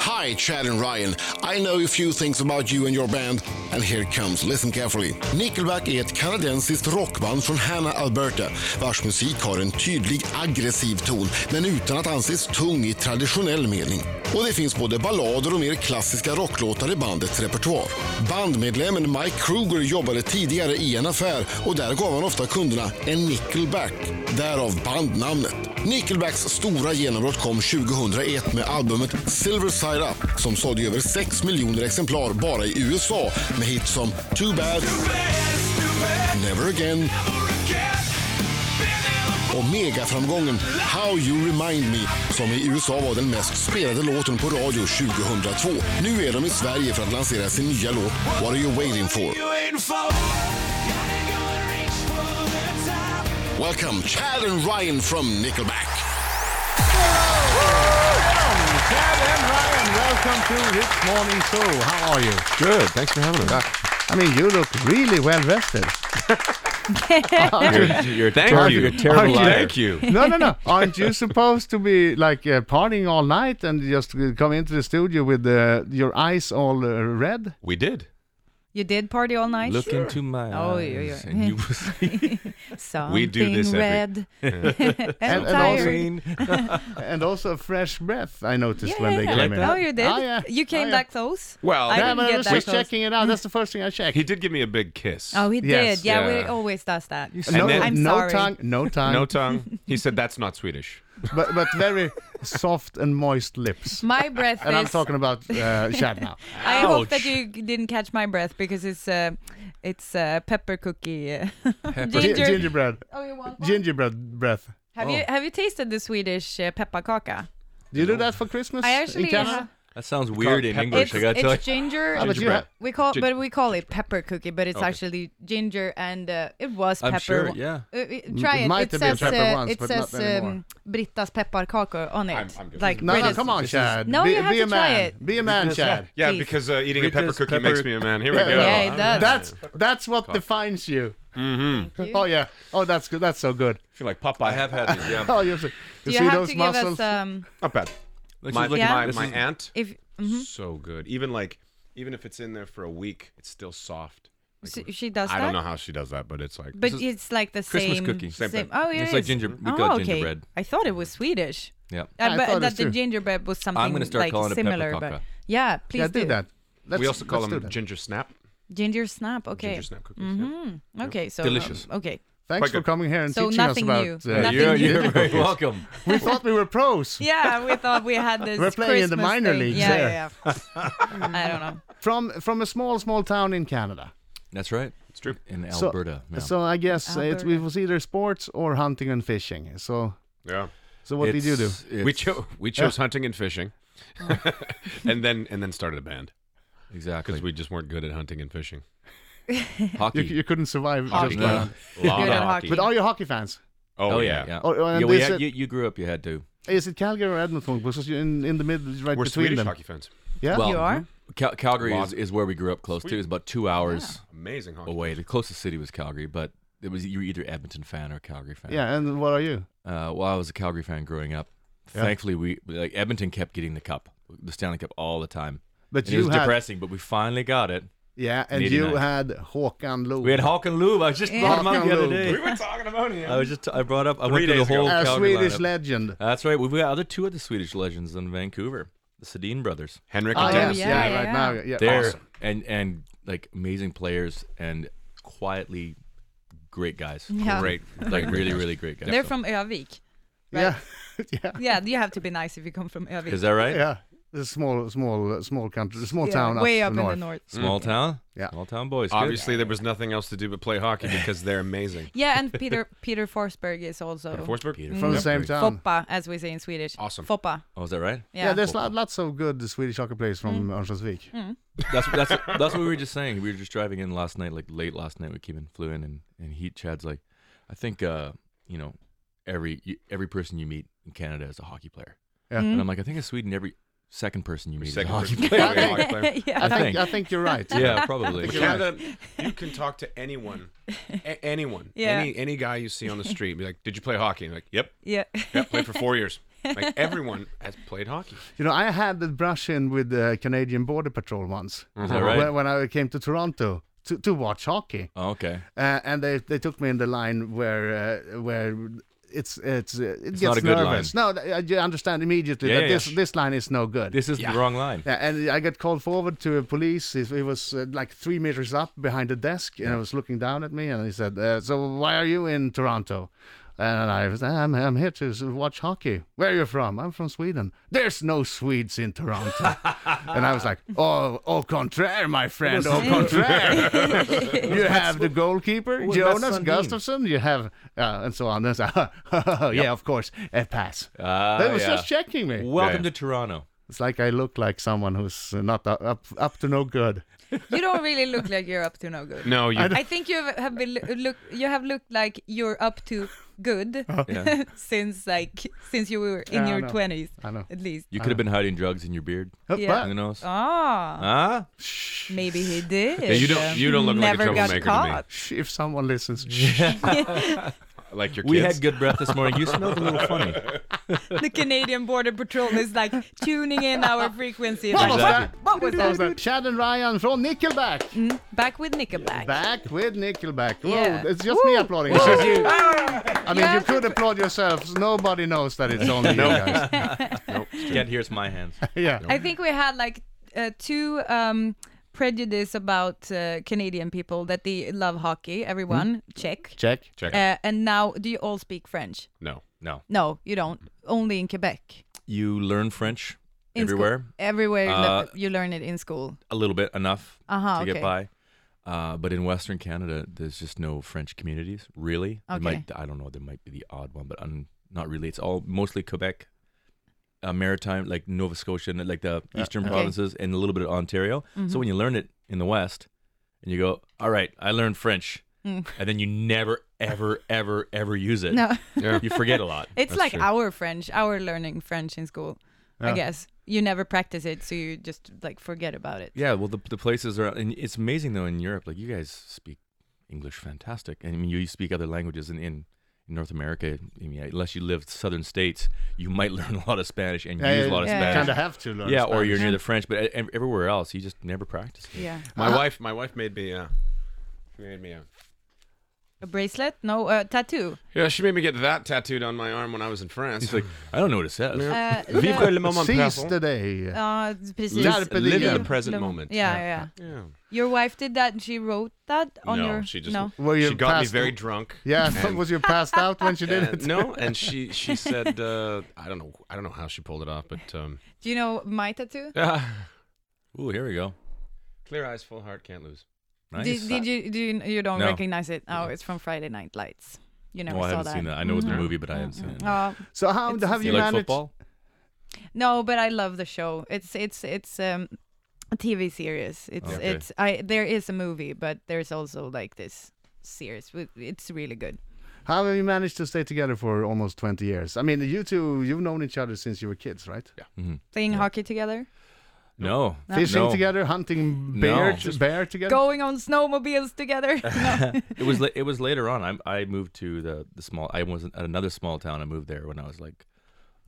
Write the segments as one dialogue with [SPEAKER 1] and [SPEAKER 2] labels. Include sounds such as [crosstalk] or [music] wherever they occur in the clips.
[SPEAKER 1] Hi, Chad and Ryan. I know a few things about you and your band, and here it comes. Listen carefully. Nickelback är ett kanadensiskt rockband från Hannah, Alberta, vars musik har en tydlig aggressiv ton, men utan att anses tung i traditionell mening. Och det finns både ballader och mer klassiska rocklåtar i bandets repertoar. Bandmedlemmen Mike Kruger jobbade tidigare i en affär och där gav han ofta kunderna en nickelback, därav bandnamnet. Nickelbacks stora genombrott kom 2001 med albumet Silver Side Up som sålde över 6 miljoner exemplar bara i USA med hits som Too Bad, Never Again och megaframgången How You Remind Me som i USA var den mest spelade låten på radio 2002. Nu är de i Sverige för att lansera sin nya låt What Are You Waiting For. Welcome Chad and Ryan from Nickelback.
[SPEAKER 2] Chad and Ryan, welcome to Hit Morning Show. How are you?
[SPEAKER 3] Good. Thanks for having us.
[SPEAKER 4] I mean, you look really well rested.
[SPEAKER 3] You're, you're, thank
[SPEAKER 4] Aren't
[SPEAKER 3] you.
[SPEAKER 4] you a terrible
[SPEAKER 3] Aren't you-
[SPEAKER 4] liar?
[SPEAKER 3] Thank you.
[SPEAKER 4] No, no, no. Aren't you supposed to be like uh, partying all night and just uh, come into the studio with uh, your eyes all uh, red?
[SPEAKER 3] We did.
[SPEAKER 5] You did party all night?
[SPEAKER 3] Look into my
[SPEAKER 5] Oh,
[SPEAKER 3] eyes,
[SPEAKER 5] yeah, yeah.
[SPEAKER 3] and you will see
[SPEAKER 5] [laughs] Something
[SPEAKER 3] We do this every-
[SPEAKER 5] red [laughs] and,
[SPEAKER 4] And- and also-
[SPEAKER 5] tired.
[SPEAKER 4] And also fresh breath, I noticed when they
[SPEAKER 5] yeah,
[SPEAKER 4] came
[SPEAKER 3] Like
[SPEAKER 4] in.
[SPEAKER 3] that?
[SPEAKER 5] Oh, you did?
[SPEAKER 4] Ah, yeah.
[SPEAKER 5] You
[SPEAKER 4] Ah,
[SPEAKER 5] came
[SPEAKER 4] yeah.
[SPEAKER 5] back close?
[SPEAKER 3] Well-
[SPEAKER 5] I
[SPEAKER 4] Yeah,
[SPEAKER 5] didn't
[SPEAKER 4] but I
[SPEAKER 5] get
[SPEAKER 4] was
[SPEAKER 5] that
[SPEAKER 4] just
[SPEAKER 5] close.
[SPEAKER 4] checking it out. That's the first thing I checked.
[SPEAKER 3] He did give me a big kiss.
[SPEAKER 5] Oh, he
[SPEAKER 4] Yes.
[SPEAKER 5] did. Yeah, we
[SPEAKER 3] Yeah.
[SPEAKER 5] always does that.
[SPEAKER 3] And
[SPEAKER 4] no,
[SPEAKER 3] then-
[SPEAKER 5] I'm
[SPEAKER 4] no
[SPEAKER 5] sorry.
[SPEAKER 4] tongue, no tongue,
[SPEAKER 3] No
[SPEAKER 5] [laughs]
[SPEAKER 3] tongue. He said that's not Swedish.
[SPEAKER 4] but but very soft and moist
[SPEAKER 5] [laughs]
[SPEAKER 4] lips.
[SPEAKER 5] My breath
[SPEAKER 4] [laughs] And I'm
[SPEAKER 5] is.
[SPEAKER 4] talking about uh, Chad now.
[SPEAKER 5] I hope that you g- didn't catch my breath because it's uh, it's uh, pepper cookie. [laughs] uh,
[SPEAKER 4] Gi-
[SPEAKER 5] ginger.
[SPEAKER 4] gingerbread,
[SPEAKER 5] Oh, you want one?
[SPEAKER 4] gingerbread breath.
[SPEAKER 5] Have
[SPEAKER 4] Oh.
[SPEAKER 5] you have you tasted the Swedish uh, pepparkaka?
[SPEAKER 4] Do you do that for Christmas?
[SPEAKER 5] I
[SPEAKER 4] in
[SPEAKER 5] actually uh-huh.
[SPEAKER 4] Canada?
[SPEAKER 5] have-
[SPEAKER 3] That sounds weird in
[SPEAKER 2] pepper.
[SPEAKER 3] English,
[SPEAKER 5] It's,
[SPEAKER 3] I gotta tell
[SPEAKER 5] it's
[SPEAKER 3] you.
[SPEAKER 5] ginger.
[SPEAKER 4] Ah, but you
[SPEAKER 3] Gingerbread.
[SPEAKER 4] ha-
[SPEAKER 5] we call
[SPEAKER 3] Gin-
[SPEAKER 5] but we call it pepper cookie, but it's actually ginger and uh, it was
[SPEAKER 3] I'm
[SPEAKER 5] pepper.
[SPEAKER 3] sure,
[SPEAKER 5] one-
[SPEAKER 3] yeah.
[SPEAKER 5] Uh, uh, try
[SPEAKER 4] It
[SPEAKER 5] it.
[SPEAKER 4] might
[SPEAKER 5] it
[SPEAKER 4] have been
[SPEAKER 5] says
[SPEAKER 4] pepper
[SPEAKER 5] uh,
[SPEAKER 4] once,
[SPEAKER 5] it
[SPEAKER 4] but not
[SPEAKER 5] says
[SPEAKER 4] anymore.
[SPEAKER 5] um, Britta's pepparkakor on it.
[SPEAKER 3] I'm good.
[SPEAKER 5] like
[SPEAKER 4] No, no,
[SPEAKER 5] British-
[SPEAKER 4] come on, Chad.
[SPEAKER 5] No,
[SPEAKER 4] be,
[SPEAKER 5] you have
[SPEAKER 4] be a
[SPEAKER 5] to
[SPEAKER 4] man.
[SPEAKER 5] try it.
[SPEAKER 4] Be a man, Chad.
[SPEAKER 3] Yeah,
[SPEAKER 5] Please.
[SPEAKER 3] because uh, eating a
[SPEAKER 2] Read
[SPEAKER 3] pepper
[SPEAKER 2] this
[SPEAKER 3] cookie
[SPEAKER 2] pepper-
[SPEAKER 3] makes me a man. Here we go.
[SPEAKER 5] Yeah, it does.
[SPEAKER 4] That's that's what defines you.
[SPEAKER 5] Mm.
[SPEAKER 4] Mm-hmm. Oh yeah. Oh, that's good. That's so good.
[SPEAKER 3] I feel like Popeye. I have had this. Yeah.
[SPEAKER 4] Oh, you, see- you
[SPEAKER 5] You,
[SPEAKER 4] see
[SPEAKER 5] have
[SPEAKER 4] those
[SPEAKER 5] to give
[SPEAKER 4] muscles?
[SPEAKER 5] us um,
[SPEAKER 3] not bad. My,
[SPEAKER 5] looking-
[SPEAKER 3] my,
[SPEAKER 5] Yeah.
[SPEAKER 3] my aunt,
[SPEAKER 5] if mm-hmm,
[SPEAKER 3] so good. Even like, even if it's in there for a week, it's still soft.
[SPEAKER 5] s- she does
[SPEAKER 3] I
[SPEAKER 5] that.
[SPEAKER 3] don't know how she does that, but it's like.
[SPEAKER 5] But it's like the
[SPEAKER 6] Christmas
[SPEAKER 5] same
[SPEAKER 6] cookie.
[SPEAKER 3] Same
[SPEAKER 5] Same,
[SPEAKER 3] thing.
[SPEAKER 5] oh, yeah,
[SPEAKER 6] It's like ginger- we
[SPEAKER 5] oh,
[SPEAKER 6] call it
[SPEAKER 5] okay.
[SPEAKER 6] gingerbread.
[SPEAKER 5] I thought it was Swedish.
[SPEAKER 6] Yeah.
[SPEAKER 5] Uh,
[SPEAKER 4] I
[SPEAKER 5] but
[SPEAKER 4] thought
[SPEAKER 5] that
[SPEAKER 4] it
[SPEAKER 5] the
[SPEAKER 4] too.
[SPEAKER 5] gingerbread was something
[SPEAKER 6] gonna start
[SPEAKER 5] like
[SPEAKER 6] calling it
[SPEAKER 5] similar, but
[SPEAKER 6] pepperkaka.
[SPEAKER 5] yeah, please
[SPEAKER 4] yeah, do that. Let's,
[SPEAKER 3] we also call
[SPEAKER 4] let's do
[SPEAKER 3] them
[SPEAKER 4] that.
[SPEAKER 3] ginger snap.
[SPEAKER 5] Ginger snap. Okay. Mm-hmm.
[SPEAKER 3] Ginger snap cookies. yeah.
[SPEAKER 5] Okay, so
[SPEAKER 6] Delicious.
[SPEAKER 5] um, okay.
[SPEAKER 4] Thanks
[SPEAKER 3] Quite
[SPEAKER 4] for
[SPEAKER 3] good.
[SPEAKER 4] coming here and
[SPEAKER 5] So
[SPEAKER 4] teaching us
[SPEAKER 5] nothing
[SPEAKER 4] about.
[SPEAKER 5] new.
[SPEAKER 4] uh,
[SPEAKER 5] Nothing
[SPEAKER 6] You're,
[SPEAKER 5] you [laughs]
[SPEAKER 6] you're very welcome.
[SPEAKER 4] we thought we were pros.
[SPEAKER 5] Yeah, we thought we had this.
[SPEAKER 4] We're playing in the
[SPEAKER 5] Christmas
[SPEAKER 4] minor
[SPEAKER 5] thing.
[SPEAKER 4] leagues
[SPEAKER 5] Yeah,
[SPEAKER 4] there.
[SPEAKER 5] yeah, yeah. [laughs] I don't know.
[SPEAKER 4] From from a small small town in Canada.
[SPEAKER 6] That's right. It's
[SPEAKER 3] true.
[SPEAKER 6] In
[SPEAKER 4] So-
[SPEAKER 6] Alberta. yeah.
[SPEAKER 4] So I guess uh, it, it
[SPEAKER 5] Alberta.
[SPEAKER 4] was either sports or hunting and fishing. So
[SPEAKER 3] Yeah.
[SPEAKER 4] so what did you do?
[SPEAKER 6] It's- it's-
[SPEAKER 3] we chose we chose hunting and fishing, [laughs] and then and then started a band
[SPEAKER 5] [laughs]
[SPEAKER 6] Exactly.
[SPEAKER 3] because we just weren't good at hunting and fishing.
[SPEAKER 4] You,
[SPEAKER 6] hockey.
[SPEAKER 4] you couldn't survive.
[SPEAKER 5] Hockey.
[SPEAKER 4] Just
[SPEAKER 6] No.
[SPEAKER 4] like,
[SPEAKER 3] Lot
[SPEAKER 5] Good
[SPEAKER 3] of
[SPEAKER 5] at hockey.
[SPEAKER 4] but are you hockey fans?
[SPEAKER 3] Oh, yeah.
[SPEAKER 4] Oh, oh, and
[SPEAKER 6] yeah, we
[SPEAKER 4] this
[SPEAKER 6] had,
[SPEAKER 4] is-
[SPEAKER 6] you, you grew up, you had to.
[SPEAKER 4] Is it Calgary or Edmonton? Because you're in, in the middle, right
[SPEAKER 3] We're
[SPEAKER 4] between
[SPEAKER 3] Swedish
[SPEAKER 4] them.
[SPEAKER 3] hockey fans.
[SPEAKER 4] Yeah.
[SPEAKER 6] Well,
[SPEAKER 5] You are?
[SPEAKER 6] Cal- Calgary
[SPEAKER 3] Lot.
[SPEAKER 6] is, is where we grew up close to. It's about two hours
[SPEAKER 3] Amazing hockey.
[SPEAKER 6] away. The closest city was Calgary, but it was you were either Edmonton fan or Calgary fan.
[SPEAKER 4] yeah. And what are you?
[SPEAKER 6] Uh, well, I was a Calgary fan growing up. Thankfully, we like Edmonton kept getting the cup, the Stanley Cup, all the time.
[SPEAKER 4] But
[SPEAKER 6] And
[SPEAKER 4] you
[SPEAKER 6] it was
[SPEAKER 4] had
[SPEAKER 6] depressing, but we finally got it.
[SPEAKER 4] yeah, and
[SPEAKER 6] 89.
[SPEAKER 4] you had Håkan Loob.
[SPEAKER 6] We had Håkan Lube. I just brought him
[SPEAKER 4] Håkan
[SPEAKER 6] up the other
[SPEAKER 4] Lube.
[SPEAKER 3] [laughs]
[SPEAKER 6] day.
[SPEAKER 3] We were talking about him.
[SPEAKER 6] I was just I brought up I
[SPEAKER 3] Three
[SPEAKER 6] went through
[SPEAKER 3] days
[SPEAKER 6] the
[SPEAKER 3] ago.
[SPEAKER 6] whole
[SPEAKER 4] a
[SPEAKER 6] Calgary
[SPEAKER 4] Swedish
[SPEAKER 6] lineup.
[SPEAKER 4] legend.
[SPEAKER 6] That's right. We've got other two other Swedish legends in Vancouver, the Sedin brothers.
[SPEAKER 3] Henrik
[SPEAKER 4] Ah,
[SPEAKER 3] and
[SPEAKER 4] yeah,
[SPEAKER 3] Dennis.
[SPEAKER 4] yeah,
[SPEAKER 5] yeah,
[SPEAKER 4] right
[SPEAKER 5] yeah.
[SPEAKER 4] now. Yeah,
[SPEAKER 6] They're
[SPEAKER 4] awesome.
[SPEAKER 6] and and like amazing players and quietly great guys.
[SPEAKER 5] Yeah.
[SPEAKER 3] Great.
[SPEAKER 6] Like really really great guys.
[SPEAKER 5] They're from Övik.
[SPEAKER 4] Yeah, [laughs] yeah,
[SPEAKER 5] Yeah, you have to be nice if you come from Övik.
[SPEAKER 6] Is that right?
[SPEAKER 4] yeah. It's a small, small, small country, small
[SPEAKER 5] Yeah,
[SPEAKER 4] town
[SPEAKER 5] way
[SPEAKER 4] up,
[SPEAKER 5] up
[SPEAKER 4] the north.
[SPEAKER 5] in the north.
[SPEAKER 6] Small town.
[SPEAKER 4] Mm. Yeah.
[SPEAKER 6] Small town boys. Good.
[SPEAKER 3] Obviously, there was nothing else to do but play hockey because they're amazing.
[SPEAKER 5] Yeah, and Peter Peter Forsberg is also
[SPEAKER 3] Forsberg.
[SPEAKER 4] From the same town.
[SPEAKER 5] Foppa, as we say in Swedish.
[SPEAKER 3] Awesome.
[SPEAKER 5] Foppa.
[SPEAKER 6] Oh, is that right?
[SPEAKER 5] Yeah.
[SPEAKER 4] yeah. [laughs] Mm. there's lo- lots of good Swedish hockey players from Örnsköldsvik.
[SPEAKER 6] That's that's that's what we were just saying. We were just driving in last night, like late last night. We came in, flew in, and and he Chad's like, I think uh, you know, every you- every person you meet in Canada is a hockey player.
[SPEAKER 4] Yeah.
[SPEAKER 6] And I'm like, I think in Sweden every second person you meet
[SPEAKER 3] Second
[SPEAKER 6] is a hockey
[SPEAKER 3] person.
[SPEAKER 6] player.
[SPEAKER 3] Yeah, hockey player. [laughs]
[SPEAKER 5] yeah.
[SPEAKER 4] I think,
[SPEAKER 6] think.
[SPEAKER 4] I think you're right.
[SPEAKER 6] [laughs] yeah,
[SPEAKER 4] [laughs]
[SPEAKER 6] probably.
[SPEAKER 4] Yeah.
[SPEAKER 3] Canada, you can talk to anyone, a- anyone,
[SPEAKER 5] Yeah.
[SPEAKER 3] any any guy you see on the street. Be like, "Did you play hockey?" And like, "Yep,
[SPEAKER 5] Yeah.
[SPEAKER 3] yep, played for four years."
[SPEAKER 5] [laughs]
[SPEAKER 3] Like everyone has played hockey.
[SPEAKER 4] You know, I had the brush in with the Canadian Border Patrol once
[SPEAKER 6] Is that right?
[SPEAKER 4] when, when I came to Toronto to, to watch hockey.
[SPEAKER 6] Oh, okay.
[SPEAKER 4] Uh, and they, they took me in the line where uh, where it's it's uh, it gets
[SPEAKER 6] not a good
[SPEAKER 4] nervous. No, I I understand immediately
[SPEAKER 6] Yeah,
[SPEAKER 4] that
[SPEAKER 6] yeah,
[SPEAKER 4] this
[SPEAKER 6] yeah.
[SPEAKER 4] this line is no good.
[SPEAKER 6] This is the wrong line.
[SPEAKER 4] Yeah, and I got called forward to a police. It, it was uh, like three meters up behind the desk, and it was looking down at me. And he said, uh, "So why are you in Toronto?" And I was, "I'm, I'm here to s- watch hockey. Where are you from? I'm from Sweden. There's no Swedes in
[SPEAKER 6] [laughs]
[SPEAKER 4] Toronto." and I was like, "Oh, au contraire, my friend, au contraire. [laughs] you have the goalkeeper
[SPEAKER 6] what does
[SPEAKER 4] Jonas
[SPEAKER 6] that mean?
[SPEAKER 4] Gustafsson. You have uh, and so on." [laughs] And I was like, "Yeah, of course, a pass."
[SPEAKER 6] Ah,
[SPEAKER 4] they was
[SPEAKER 6] yeah.
[SPEAKER 4] just checking me.
[SPEAKER 6] Welcome
[SPEAKER 3] Yeah.
[SPEAKER 6] to Toronto.
[SPEAKER 4] It's like I look like someone who's not up up, up to no good.
[SPEAKER 5] You don't really look like you're up to no good.
[SPEAKER 3] No, you.
[SPEAKER 5] I think you have been lo- look. You have looked like you're up to good
[SPEAKER 6] Yeah.
[SPEAKER 5] [laughs] since like since you were in
[SPEAKER 4] Yeah, I
[SPEAKER 5] your
[SPEAKER 4] know.
[SPEAKER 5] twenties,
[SPEAKER 4] I know.
[SPEAKER 5] at least.
[SPEAKER 6] You could have been hiding drugs in your beard.
[SPEAKER 4] Uh.
[SPEAKER 5] Yeah.
[SPEAKER 6] Who knows?
[SPEAKER 5] Ah,
[SPEAKER 6] Huh?
[SPEAKER 5] maybe
[SPEAKER 3] [laughs]
[SPEAKER 5] he did.
[SPEAKER 3] you don't. You don't look
[SPEAKER 5] Never
[SPEAKER 3] like a
[SPEAKER 5] got
[SPEAKER 3] troublemaker
[SPEAKER 5] caught.
[SPEAKER 4] Shh, if someone listens,
[SPEAKER 3] to me. Like your kids.
[SPEAKER 6] We had good breath this morning. You smelled a [laughs] little funny.
[SPEAKER 5] The Canadian Border Patrol is
[SPEAKER 3] [laughs]
[SPEAKER 5] like tuning in our frequency.
[SPEAKER 4] What
[SPEAKER 5] Like,
[SPEAKER 4] was that?
[SPEAKER 5] What was that?
[SPEAKER 4] Chad and Ryan from Nickelback.
[SPEAKER 5] Back with
[SPEAKER 3] [laughs]
[SPEAKER 5] Nickelback.
[SPEAKER 4] Back with Nickelback. Whoa,
[SPEAKER 5] Yeah.
[SPEAKER 4] it's just me applauding. I mean, you
[SPEAKER 5] Yeah.
[SPEAKER 4] could applaud yourselves. Nobody knows that it's only you guys.
[SPEAKER 6] Can't hear it's my hands.
[SPEAKER 4] Yeah.
[SPEAKER 5] I think we had like uh, two um, prejudice about uh, Canadian people that they love hockey. Everyone,
[SPEAKER 3] Hmm?
[SPEAKER 5] check.
[SPEAKER 4] Check.
[SPEAKER 3] Check.
[SPEAKER 5] Uh, and now, do you all speak French?
[SPEAKER 3] no.
[SPEAKER 6] No.
[SPEAKER 5] No, you don't. Only in Quebec.
[SPEAKER 6] You learn French
[SPEAKER 5] In school-
[SPEAKER 6] everywhere.
[SPEAKER 5] everywhere
[SPEAKER 6] Uh,
[SPEAKER 5] that you learn it in school.
[SPEAKER 6] A little bit, enough
[SPEAKER 5] Uh-huh,
[SPEAKER 6] to
[SPEAKER 5] okay.
[SPEAKER 6] get by. Uh, but in Western Canada, there's just no French communities, really. There
[SPEAKER 5] Okay.
[SPEAKER 6] might, I don't know. There might be the odd one, but un, not really. It's all mostly Quebec, uh, Maritime, like Nova Scotia, and like the eastern
[SPEAKER 5] Okay.
[SPEAKER 6] provinces, and a little bit of Ontario.
[SPEAKER 5] Mm-hmm.
[SPEAKER 6] So when you learn it in the West, and you go, "All right, I learned French," and then you never, ever, ever, ever use it.
[SPEAKER 5] Mm. No,
[SPEAKER 6] You forget a lot.
[SPEAKER 5] [laughs] it's
[SPEAKER 6] That's
[SPEAKER 5] like
[SPEAKER 6] true.
[SPEAKER 5] our French, our learning French in school. I
[SPEAKER 4] Yeah.
[SPEAKER 5] guess you never practice it, so you just like forget about it.
[SPEAKER 6] Yeah, well, the, the places are, and it's amazing though in Europe. Like you guys speak English fantastic, and I mean, you speak other languages. And in, in North America, I mean, unless you live southern states, you might [laughs] learn a lot of Spanish and use a lot of
[SPEAKER 5] yeah.
[SPEAKER 6] Spanish.
[SPEAKER 4] Kind of have to learn.
[SPEAKER 6] yeah, or
[SPEAKER 4] Spanish.
[SPEAKER 6] you're near the French, but e- ev- everywhere else, you just never practice. it.
[SPEAKER 5] Yeah,
[SPEAKER 3] My
[SPEAKER 4] Uh-huh.
[SPEAKER 3] wife. My wife made me. Uh, she made me a.
[SPEAKER 5] a bracelet? No, a tattoo.
[SPEAKER 3] Yeah, she made me get that tattooed on my arm when I was in France.
[SPEAKER 6] It's like
[SPEAKER 3] [laughs]
[SPEAKER 6] I don't know what it says.
[SPEAKER 5] Uh,
[SPEAKER 3] Vivre
[SPEAKER 5] the-
[SPEAKER 3] le moment
[SPEAKER 4] Seize
[SPEAKER 3] présent.
[SPEAKER 4] the day.
[SPEAKER 5] [laughs] uh, precis.
[SPEAKER 4] Live-
[SPEAKER 3] Live in the
[SPEAKER 5] Le-
[SPEAKER 3] present
[SPEAKER 5] le-
[SPEAKER 3] moment.
[SPEAKER 5] Yeah, yeah.
[SPEAKER 3] Yeah.
[SPEAKER 5] Your wife did that, and she wrote that on
[SPEAKER 3] no,
[SPEAKER 5] your.
[SPEAKER 3] she just.
[SPEAKER 5] no.
[SPEAKER 4] Were you
[SPEAKER 3] She got me
[SPEAKER 4] passed-
[SPEAKER 3] very drunk.
[SPEAKER 4] [laughs] Yeah. Was you passed out when she did
[SPEAKER 3] And-
[SPEAKER 4] it?
[SPEAKER 3] no, and
[SPEAKER 4] [laughs]
[SPEAKER 3] she she said uh, I don't know I don't know how she pulled it off, but um,
[SPEAKER 5] Do you know my tattoo?
[SPEAKER 6] [laughs] Ooh, here we go.
[SPEAKER 3] clear eyes, full heart, can't lose.
[SPEAKER 6] Nice.
[SPEAKER 5] Did, did you? Do you? You don't
[SPEAKER 6] No.
[SPEAKER 5] recognize it? Oh, it's from Friday Night Lights. You never
[SPEAKER 6] oh, I
[SPEAKER 5] saw
[SPEAKER 6] haven't
[SPEAKER 5] that. Mm-hmm.
[SPEAKER 6] seen that. I know it's the movie, but I haven't seen it.
[SPEAKER 5] Uh,
[SPEAKER 4] So how
[SPEAKER 5] It's-
[SPEAKER 4] have
[SPEAKER 6] you
[SPEAKER 4] you
[SPEAKER 6] like
[SPEAKER 4] managed?
[SPEAKER 6] football?
[SPEAKER 5] No, but I love the show. It's it's it's um a TV series. It's
[SPEAKER 6] Okay.
[SPEAKER 5] it's I there is a movie, but there's also like this series. with- It's really good.
[SPEAKER 4] How have you managed to stay together for almost 20 years? I mean, you two, you've known each other since you were kids, right?
[SPEAKER 5] Playing hockey together,
[SPEAKER 6] No.
[SPEAKER 4] Fishing
[SPEAKER 6] No.
[SPEAKER 4] together, hunting bear,
[SPEAKER 6] No. Just-
[SPEAKER 4] bear together.
[SPEAKER 5] going on snowmobiles together. No.
[SPEAKER 6] it was la- it was later on. I I moved to the the small. I was at another small town. I moved there when I was like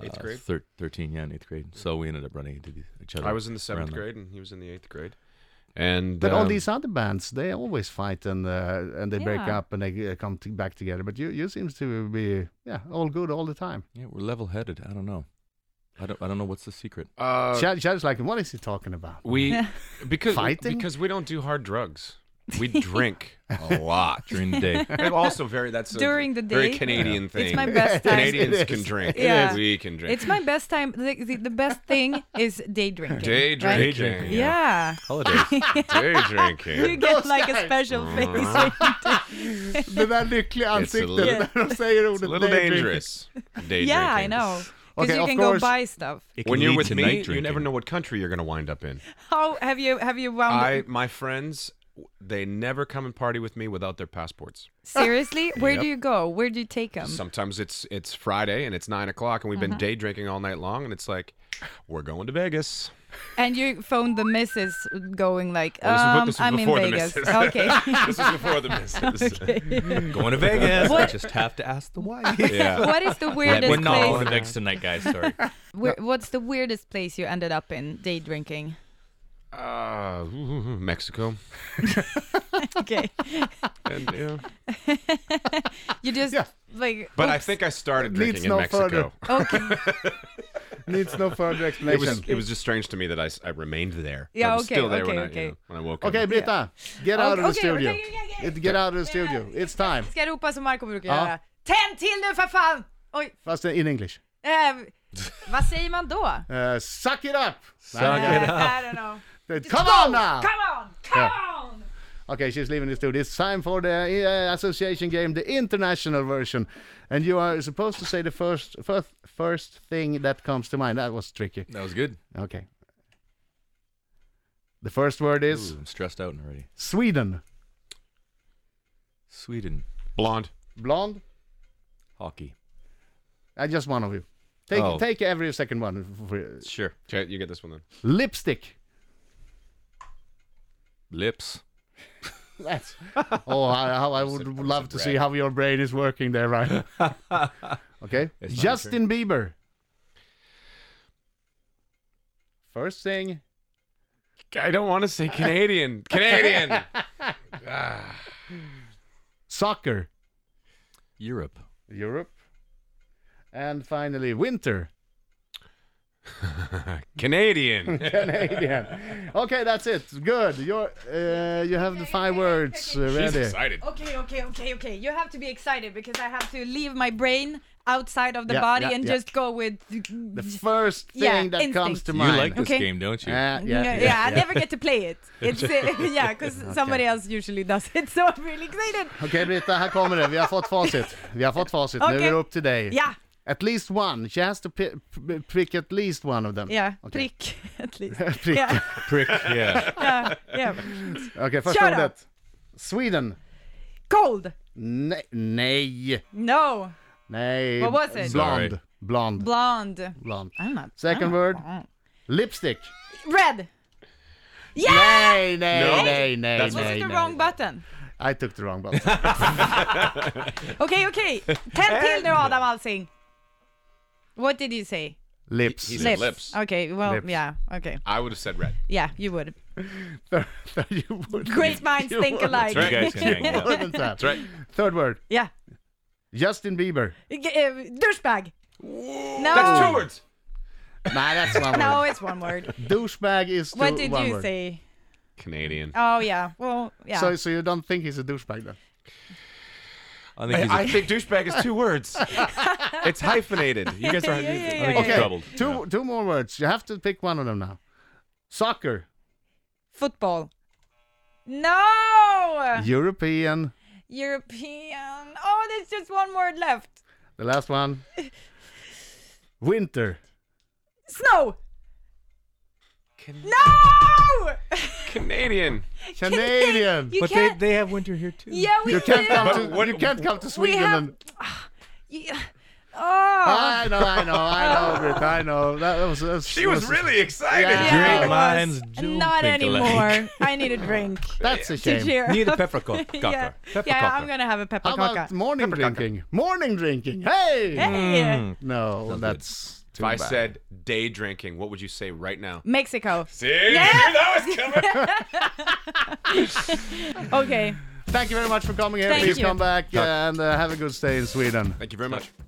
[SPEAKER 6] uh,
[SPEAKER 3] Eighth grade?
[SPEAKER 6] thir- thirteen. Yeah, in eighth grade. So we ended up running into the- each other.
[SPEAKER 3] I was in the
[SPEAKER 6] around
[SPEAKER 3] seventh
[SPEAKER 6] that.
[SPEAKER 3] grade and he was in the eighth grade, and
[SPEAKER 4] But all
[SPEAKER 3] um,
[SPEAKER 4] these other bands, they always fight and uh, and they break
[SPEAKER 5] Yeah.
[SPEAKER 4] up and they uh, come t- back together. But you you seems to be yeah all good all the time.
[SPEAKER 6] Yeah, we're level headed. I don't know. I don't. I don't know what's the secret.
[SPEAKER 3] uh,
[SPEAKER 4] Chad, Chad's like, what is he talking
[SPEAKER 3] [laughs]
[SPEAKER 4] about? [laughs]
[SPEAKER 3] we because
[SPEAKER 4] Fighting?
[SPEAKER 3] because we don't do hard drugs. We drink
[SPEAKER 4] [laughs]
[SPEAKER 3] a lot.
[SPEAKER 6] During the
[SPEAKER 3] [laughs]
[SPEAKER 6] day,
[SPEAKER 3] And also very that's a
[SPEAKER 5] During the
[SPEAKER 3] very
[SPEAKER 5] day.
[SPEAKER 3] Canadian thing.
[SPEAKER 5] my best time.
[SPEAKER 3] Canadians
[SPEAKER 4] It
[SPEAKER 3] can
[SPEAKER 4] is.
[SPEAKER 3] drink.
[SPEAKER 5] Yeah.
[SPEAKER 3] we can drink.
[SPEAKER 5] it's my best time. The, the, the best thing is day drinking.
[SPEAKER 3] day
[SPEAKER 5] right?
[SPEAKER 3] drinking.
[SPEAKER 6] drinking,
[SPEAKER 5] Yeah.
[SPEAKER 6] holidays.
[SPEAKER 3] Day
[SPEAKER 5] [laughs] You
[SPEAKER 3] drinking.
[SPEAKER 5] get
[SPEAKER 4] Those
[SPEAKER 5] like
[SPEAKER 4] guys.
[SPEAKER 5] a special [laughs] face.
[SPEAKER 4] Det där lyckliga
[SPEAKER 3] It's a
[SPEAKER 4] ansiktet
[SPEAKER 3] little-
[SPEAKER 4] [laughs] när de säger ordet
[SPEAKER 3] It's a little
[SPEAKER 4] daydream.
[SPEAKER 3] dangerous. Day
[SPEAKER 5] yeah, I
[SPEAKER 3] drinking.
[SPEAKER 5] know. Because
[SPEAKER 4] Okay,
[SPEAKER 5] you
[SPEAKER 4] of
[SPEAKER 5] can
[SPEAKER 4] course.
[SPEAKER 5] go buy stuff.
[SPEAKER 6] It can
[SPEAKER 3] When you're
[SPEAKER 6] lead
[SPEAKER 3] with
[SPEAKER 6] to
[SPEAKER 3] me,
[SPEAKER 6] night
[SPEAKER 3] you never
[SPEAKER 6] [laughs] drinking.
[SPEAKER 3] know what country you're going to wind up in.
[SPEAKER 5] How have you have you wound?
[SPEAKER 3] I my friends they never come and party with me without their passports.
[SPEAKER 5] Seriously, where
[SPEAKER 3] Yep.
[SPEAKER 5] do you go? Where do you take them?
[SPEAKER 3] Sometimes it's it's
[SPEAKER 5] uh-huh.
[SPEAKER 3] Friday and it's nine o'clock and we've been day drinking all night long and it's like we're going to Vegas.
[SPEAKER 5] And you phoned the missus, going like,
[SPEAKER 3] Well, Oh, this was-
[SPEAKER 5] um,
[SPEAKER 3] this was
[SPEAKER 5] I'm in
[SPEAKER 3] before the
[SPEAKER 5] Vegas.
[SPEAKER 3] missus.
[SPEAKER 5] [laughs]
[SPEAKER 3] [laughs]
[SPEAKER 5] okay.
[SPEAKER 3] this was before the misses.
[SPEAKER 6] Going to Vegas.
[SPEAKER 5] What-
[SPEAKER 6] Just have to ask the wife.
[SPEAKER 3] [laughs] Yeah.
[SPEAKER 5] What is the weirdest
[SPEAKER 6] We're not
[SPEAKER 5] place?
[SPEAKER 6] going to Vegas tonight, guys. Sorry.
[SPEAKER 5] Where, what's the weirdest place you ended up in
[SPEAKER 4] [laughs]
[SPEAKER 5] day drinking?
[SPEAKER 3] Uh, Mexico.
[SPEAKER 5] Okay,
[SPEAKER 3] And,
[SPEAKER 5] [laughs]
[SPEAKER 3] yeah.
[SPEAKER 5] you just
[SPEAKER 4] Yeah.
[SPEAKER 5] like.
[SPEAKER 3] But I
[SPEAKER 5] oops.
[SPEAKER 3] think I started
[SPEAKER 4] Needs
[SPEAKER 3] drinking
[SPEAKER 4] no
[SPEAKER 3] in Mexico.
[SPEAKER 4] further
[SPEAKER 5] Okay.
[SPEAKER 3] [laughs]
[SPEAKER 4] Needs no further
[SPEAKER 3] It
[SPEAKER 4] explanation.
[SPEAKER 3] was it was just strange to me that I, s- I remained there.
[SPEAKER 5] Yeah,
[SPEAKER 3] I was
[SPEAKER 5] okay,
[SPEAKER 3] still there when,
[SPEAKER 5] okay,
[SPEAKER 3] I,
[SPEAKER 5] okay.
[SPEAKER 3] you know, when I woke
[SPEAKER 4] okay,
[SPEAKER 3] up.
[SPEAKER 4] Britta, get out of the
[SPEAKER 5] Okay,
[SPEAKER 4] studio.
[SPEAKER 5] okay, okay, okay.
[SPEAKER 4] It- Get out of the studio. It's time.
[SPEAKER 5] Ska jag ropa som Marco brukar
[SPEAKER 4] Ja.
[SPEAKER 5] göra? Tänd till nu för fan! Oj,
[SPEAKER 4] Fast in English.
[SPEAKER 5] eh, vad säger man då?
[SPEAKER 3] [laughs]
[SPEAKER 5] Eh,
[SPEAKER 4] Uh, suck it up!
[SPEAKER 6] Suck it
[SPEAKER 5] I don't know.
[SPEAKER 4] Come on now!
[SPEAKER 5] Come on, come on!
[SPEAKER 4] Okay, she's leaving the studio. It's time for the uh, association game, the international version, and you are supposed to say the first first first thing that comes to mind. That was tricky.
[SPEAKER 6] That was good.
[SPEAKER 4] Okay. The first word is
[SPEAKER 6] Ooh, I'm stressed out already.
[SPEAKER 4] Sweden.
[SPEAKER 6] Sweden.
[SPEAKER 3] Blonde.
[SPEAKER 4] Blonde.
[SPEAKER 6] Hockey.
[SPEAKER 4] I just one of you. Take
[SPEAKER 6] Oh.
[SPEAKER 4] take every second one. f- f-
[SPEAKER 6] Sure.
[SPEAKER 3] Okay, you get this one then.
[SPEAKER 4] Lipstick.
[SPEAKER 6] Lips.
[SPEAKER 4] That's oh, I, how I would love to see how your brain is working there, right? now. okay,
[SPEAKER 6] It's my
[SPEAKER 4] Justin Bieber. First thing,
[SPEAKER 3] I don't want to say Canadian. [laughs] Canadian.
[SPEAKER 4] soccer,
[SPEAKER 6] Europe.
[SPEAKER 4] Europe, and finally winter,
[SPEAKER 3] [laughs] Canadian.
[SPEAKER 4] Canadian. okay, that's it. Good. You're uh, you have the five words uh,
[SPEAKER 3] She's
[SPEAKER 4] ready.
[SPEAKER 3] excited.
[SPEAKER 5] Okay, okay, okay, okay. You have to be excited because I have to leave my brain outside of the
[SPEAKER 4] Yeah,
[SPEAKER 5] body
[SPEAKER 4] yeah,
[SPEAKER 5] and
[SPEAKER 4] yeah.
[SPEAKER 5] just go with.
[SPEAKER 4] The first thing
[SPEAKER 5] Yeah,
[SPEAKER 4] that comes
[SPEAKER 5] instinct.
[SPEAKER 4] to
[SPEAKER 6] You
[SPEAKER 4] mind.
[SPEAKER 6] like this
[SPEAKER 5] Okay. Uh,
[SPEAKER 6] game, don't you?
[SPEAKER 4] Ah,
[SPEAKER 5] yeah,
[SPEAKER 4] yeah,
[SPEAKER 5] yeah, I never get to play
[SPEAKER 4] [laughs]
[SPEAKER 5] it. It's uh, [laughs] yeah, because somebody else usually does it, [laughs] so I'm really excited.
[SPEAKER 4] Okej Britta, här kommer det. Vi har fått facit. Vi har fått facit. Nu är
[SPEAKER 5] Okej.
[SPEAKER 4] det upp till dig.
[SPEAKER 5] Ja,
[SPEAKER 4] At least one. She has to pi- p- pick at least one of them.
[SPEAKER 5] ja,
[SPEAKER 4] Okej.
[SPEAKER 5] prick [laughs] at least.
[SPEAKER 4] [laughs] Prick.
[SPEAKER 5] Ja, [laughs]
[SPEAKER 6] Prick. Yeah.
[SPEAKER 5] ja, ja.
[SPEAKER 4] Okej, första
[SPEAKER 5] Shut up.
[SPEAKER 4] ordet. Sweden.
[SPEAKER 5] Cold.
[SPEAKER 4] Nej. Nej.
[SPEAKER 5] No.
[SPEAKER 4] Nej.
[SPEAKER 5] What was it?
[SPEAKER 4] Blond.
[SPEAKER 6] Sorry.
[SPEAKER 4] Blond.
[SPEAKER 5] Blonde.
[SPEAKER 4] Blond.
[SPEAKER 5] I'm not.
[SPEAKER 4] Second
[SPEAKER 5] I'm
[SPEAKER 4] word.
[SPEAKER 5] not-
[SPEAKER 4] Lipstick.
[SPEAKER 5] Red. Yeah.
[SPEAKER 4] Nej, nej,
[SPEAKER 3] No.
[SPEAKER 4] nej, nej,
[SPEAKER 5] Was
[SPEAKER 4] nej.
[SPEAKER 5] it the
[SPEAKER 4] nej.
[SPEAKER 5] wrong button?
[SPEAKER 4] I took the wrong button.
[SPEAKER 3] [laughs]
[SPEAKER 5] Okej, okej.
[SPEAKER 4] [laughs]
[SPEAKER 5] Tänd till nu Adam Alsing. What did you say?
[SPEAKER 4] Lips.
[SPEAKER 3] He said lips.
[SPEAKER 5] Okay, well,
[SPEAKER 4] Lips.
[SPEAKER 5] yeah, okay.
[SPEAKER 3] I would have said red.
[SPEAKER 5] Yeah,
[SPEAKER 4] [laughs]
[SPEAKER 5] you would.
[SPEAKER 4] you would.
[SPEAKER 5] Great
[SPEAKER 4] [laughs]
[SPEAKER 5] minds
[SPEAKER 4] you
[SPEAKER 5] think
[SPEAKER 4] would.
[SPEAKER 5] alike.
[SPEAKER 6] You guys can hang out.
[SPEAKER 4] More than that.
[SPEAKER 3] That's right.
[SPEAKER 4] Third word.
[SPEAKER 5] [laughs] Yeah.
[SPEAKER 4] Justin Bieber.
[SPEAKER 5] G- uh, douchebag. No.
[SPEAKER 3] That's two words.
[SPEAKER 4] Nah, that's
[SPEAKER 5] [laughs]
[SPEAKER 4] one
[SPEAKER 5] No,
[SPEAKER 4] word.
[SPEAKER 5] it's one
[SPEAKER 4] [laughs]
[SPEAKER 5] word.
[SPEAKER 4] Douchebag is two,
[SPEAKER 5] What did
[SPEAKER 4] one
[SPEAKER 5] you
[SPEAKER 4] word.
[SPEAKER 5] say?
[SPEAKER 3] Canadian.
[SPEAKER 5] Oh, yeah. Well, yeah.
[SPEAKER 4] So, so you don't think he's a douchebag then?
[SPEAKER 6] I think he's a
[SPEAKER 3] I think douchebag is two words.
[SPEAKER 5] [laughs]
[SPEAKER 3] it's hyphenated. You guys are.
[SPEAKER 5] Yeah, yeah, yeah,
[SPEAKER 6] I think
[SPEAKER 5] yeah.
[SPEAKER 6] he's troubled.
[SPEAKER 4] Two two more words. You have to pick one of them now. Soccer.
[SPEAKER 5] Football. No.
[SPEAKER 4] European.
[SPEAKER 5] European. Oh, there's just one word left.
[SPEAKER 4] The last
[SPEAKER 5] [laughs]
[SPEAKER 4] one. Winter.
[SPEAKER 5] Snow.
[SPEAKER 3] Can-
[SPEAKER 5] No. [laughs]
[SPEAKER 3] Canadian.
[SPEAKER 4] Canadian.
[SPEAKER 5] You
[SPEAKER 6] But they,
[SPEAKER 5] can't.
[SPEAKER 6] they have winter here too.
[SPEAKER 5] yeah, we
[SPEAKER 4] You can't
[SPEAKER 5] do.
[SPEAKER 4] come
[SPEAKER 3] But
[SPEAKER 4] to
[SPEAKER 3] what-
[SPEAKER 4] you can't come to
[SPEAKER 5] We
[SPEAKER 4] Sweden.
[SPEAKER 5] have.
[SPEAKER 4] and,
[SPEAKER 5] Yeah. Oh.
[SPEAKER 4] I know, I know, I
[SPEAKER 5] [laughs]
[SPEAKER 4] know, Britt, I know. That was, that was
[SPEAKER 3] She was really excited.
[SPEAKER 4] Yeah.
[SPEAKER 5] Yeah,
[SPEAKER 6] Great
[SPEAKER 5] it was.
[SPEAKER 6] minds do
[SPEAKER 5] Not
[SPEAKER 6] think alike. [laughs]
[SPEAKER 5] anymore. I need a drink
[SPEAKER 4] That's a
[SPEAKER 5] to
[SPEAKER 4] shame.
[SPEAKER 5] cheer.
[SPEAKER 6] Need a
[SPEAKER 5] up.
[SPEAKER 6] peppercorn.
[SPEAKER 5] [laughs] yeah,
[SPEAKER 6] Pepper
[SPEAKER 5] yeah I'm gonna have a
[SPEAKER 4] How about
[SPEAKER 5] peppercoca.
[SPEAKER 4] morning drinking? Morning drinking. Hey.
[SPEAKER 5] Hey,
[SPEAKER 6] Mm.
[SPEAKER 4] No, that's
[SPEAKER 3] If I said day drinking, what would you say right
[SPEAKER 5] [laughs]
[SPEAKER 3] now?
[SPEAKER 5] Mexico.
[SPEAKER 3] See, you knew that was coming.
[SPEAKER 5] Okay.
[SPEAKER 4] Thank you very much for coming here.
[SPEAKER 5] Thank
[SPEAKER 4] Please
[SPEAKER 5] you.
[SPEAKER 4] come back and uh, have a good stay in Sweden.
[SPEAKER 3] Thank you very much.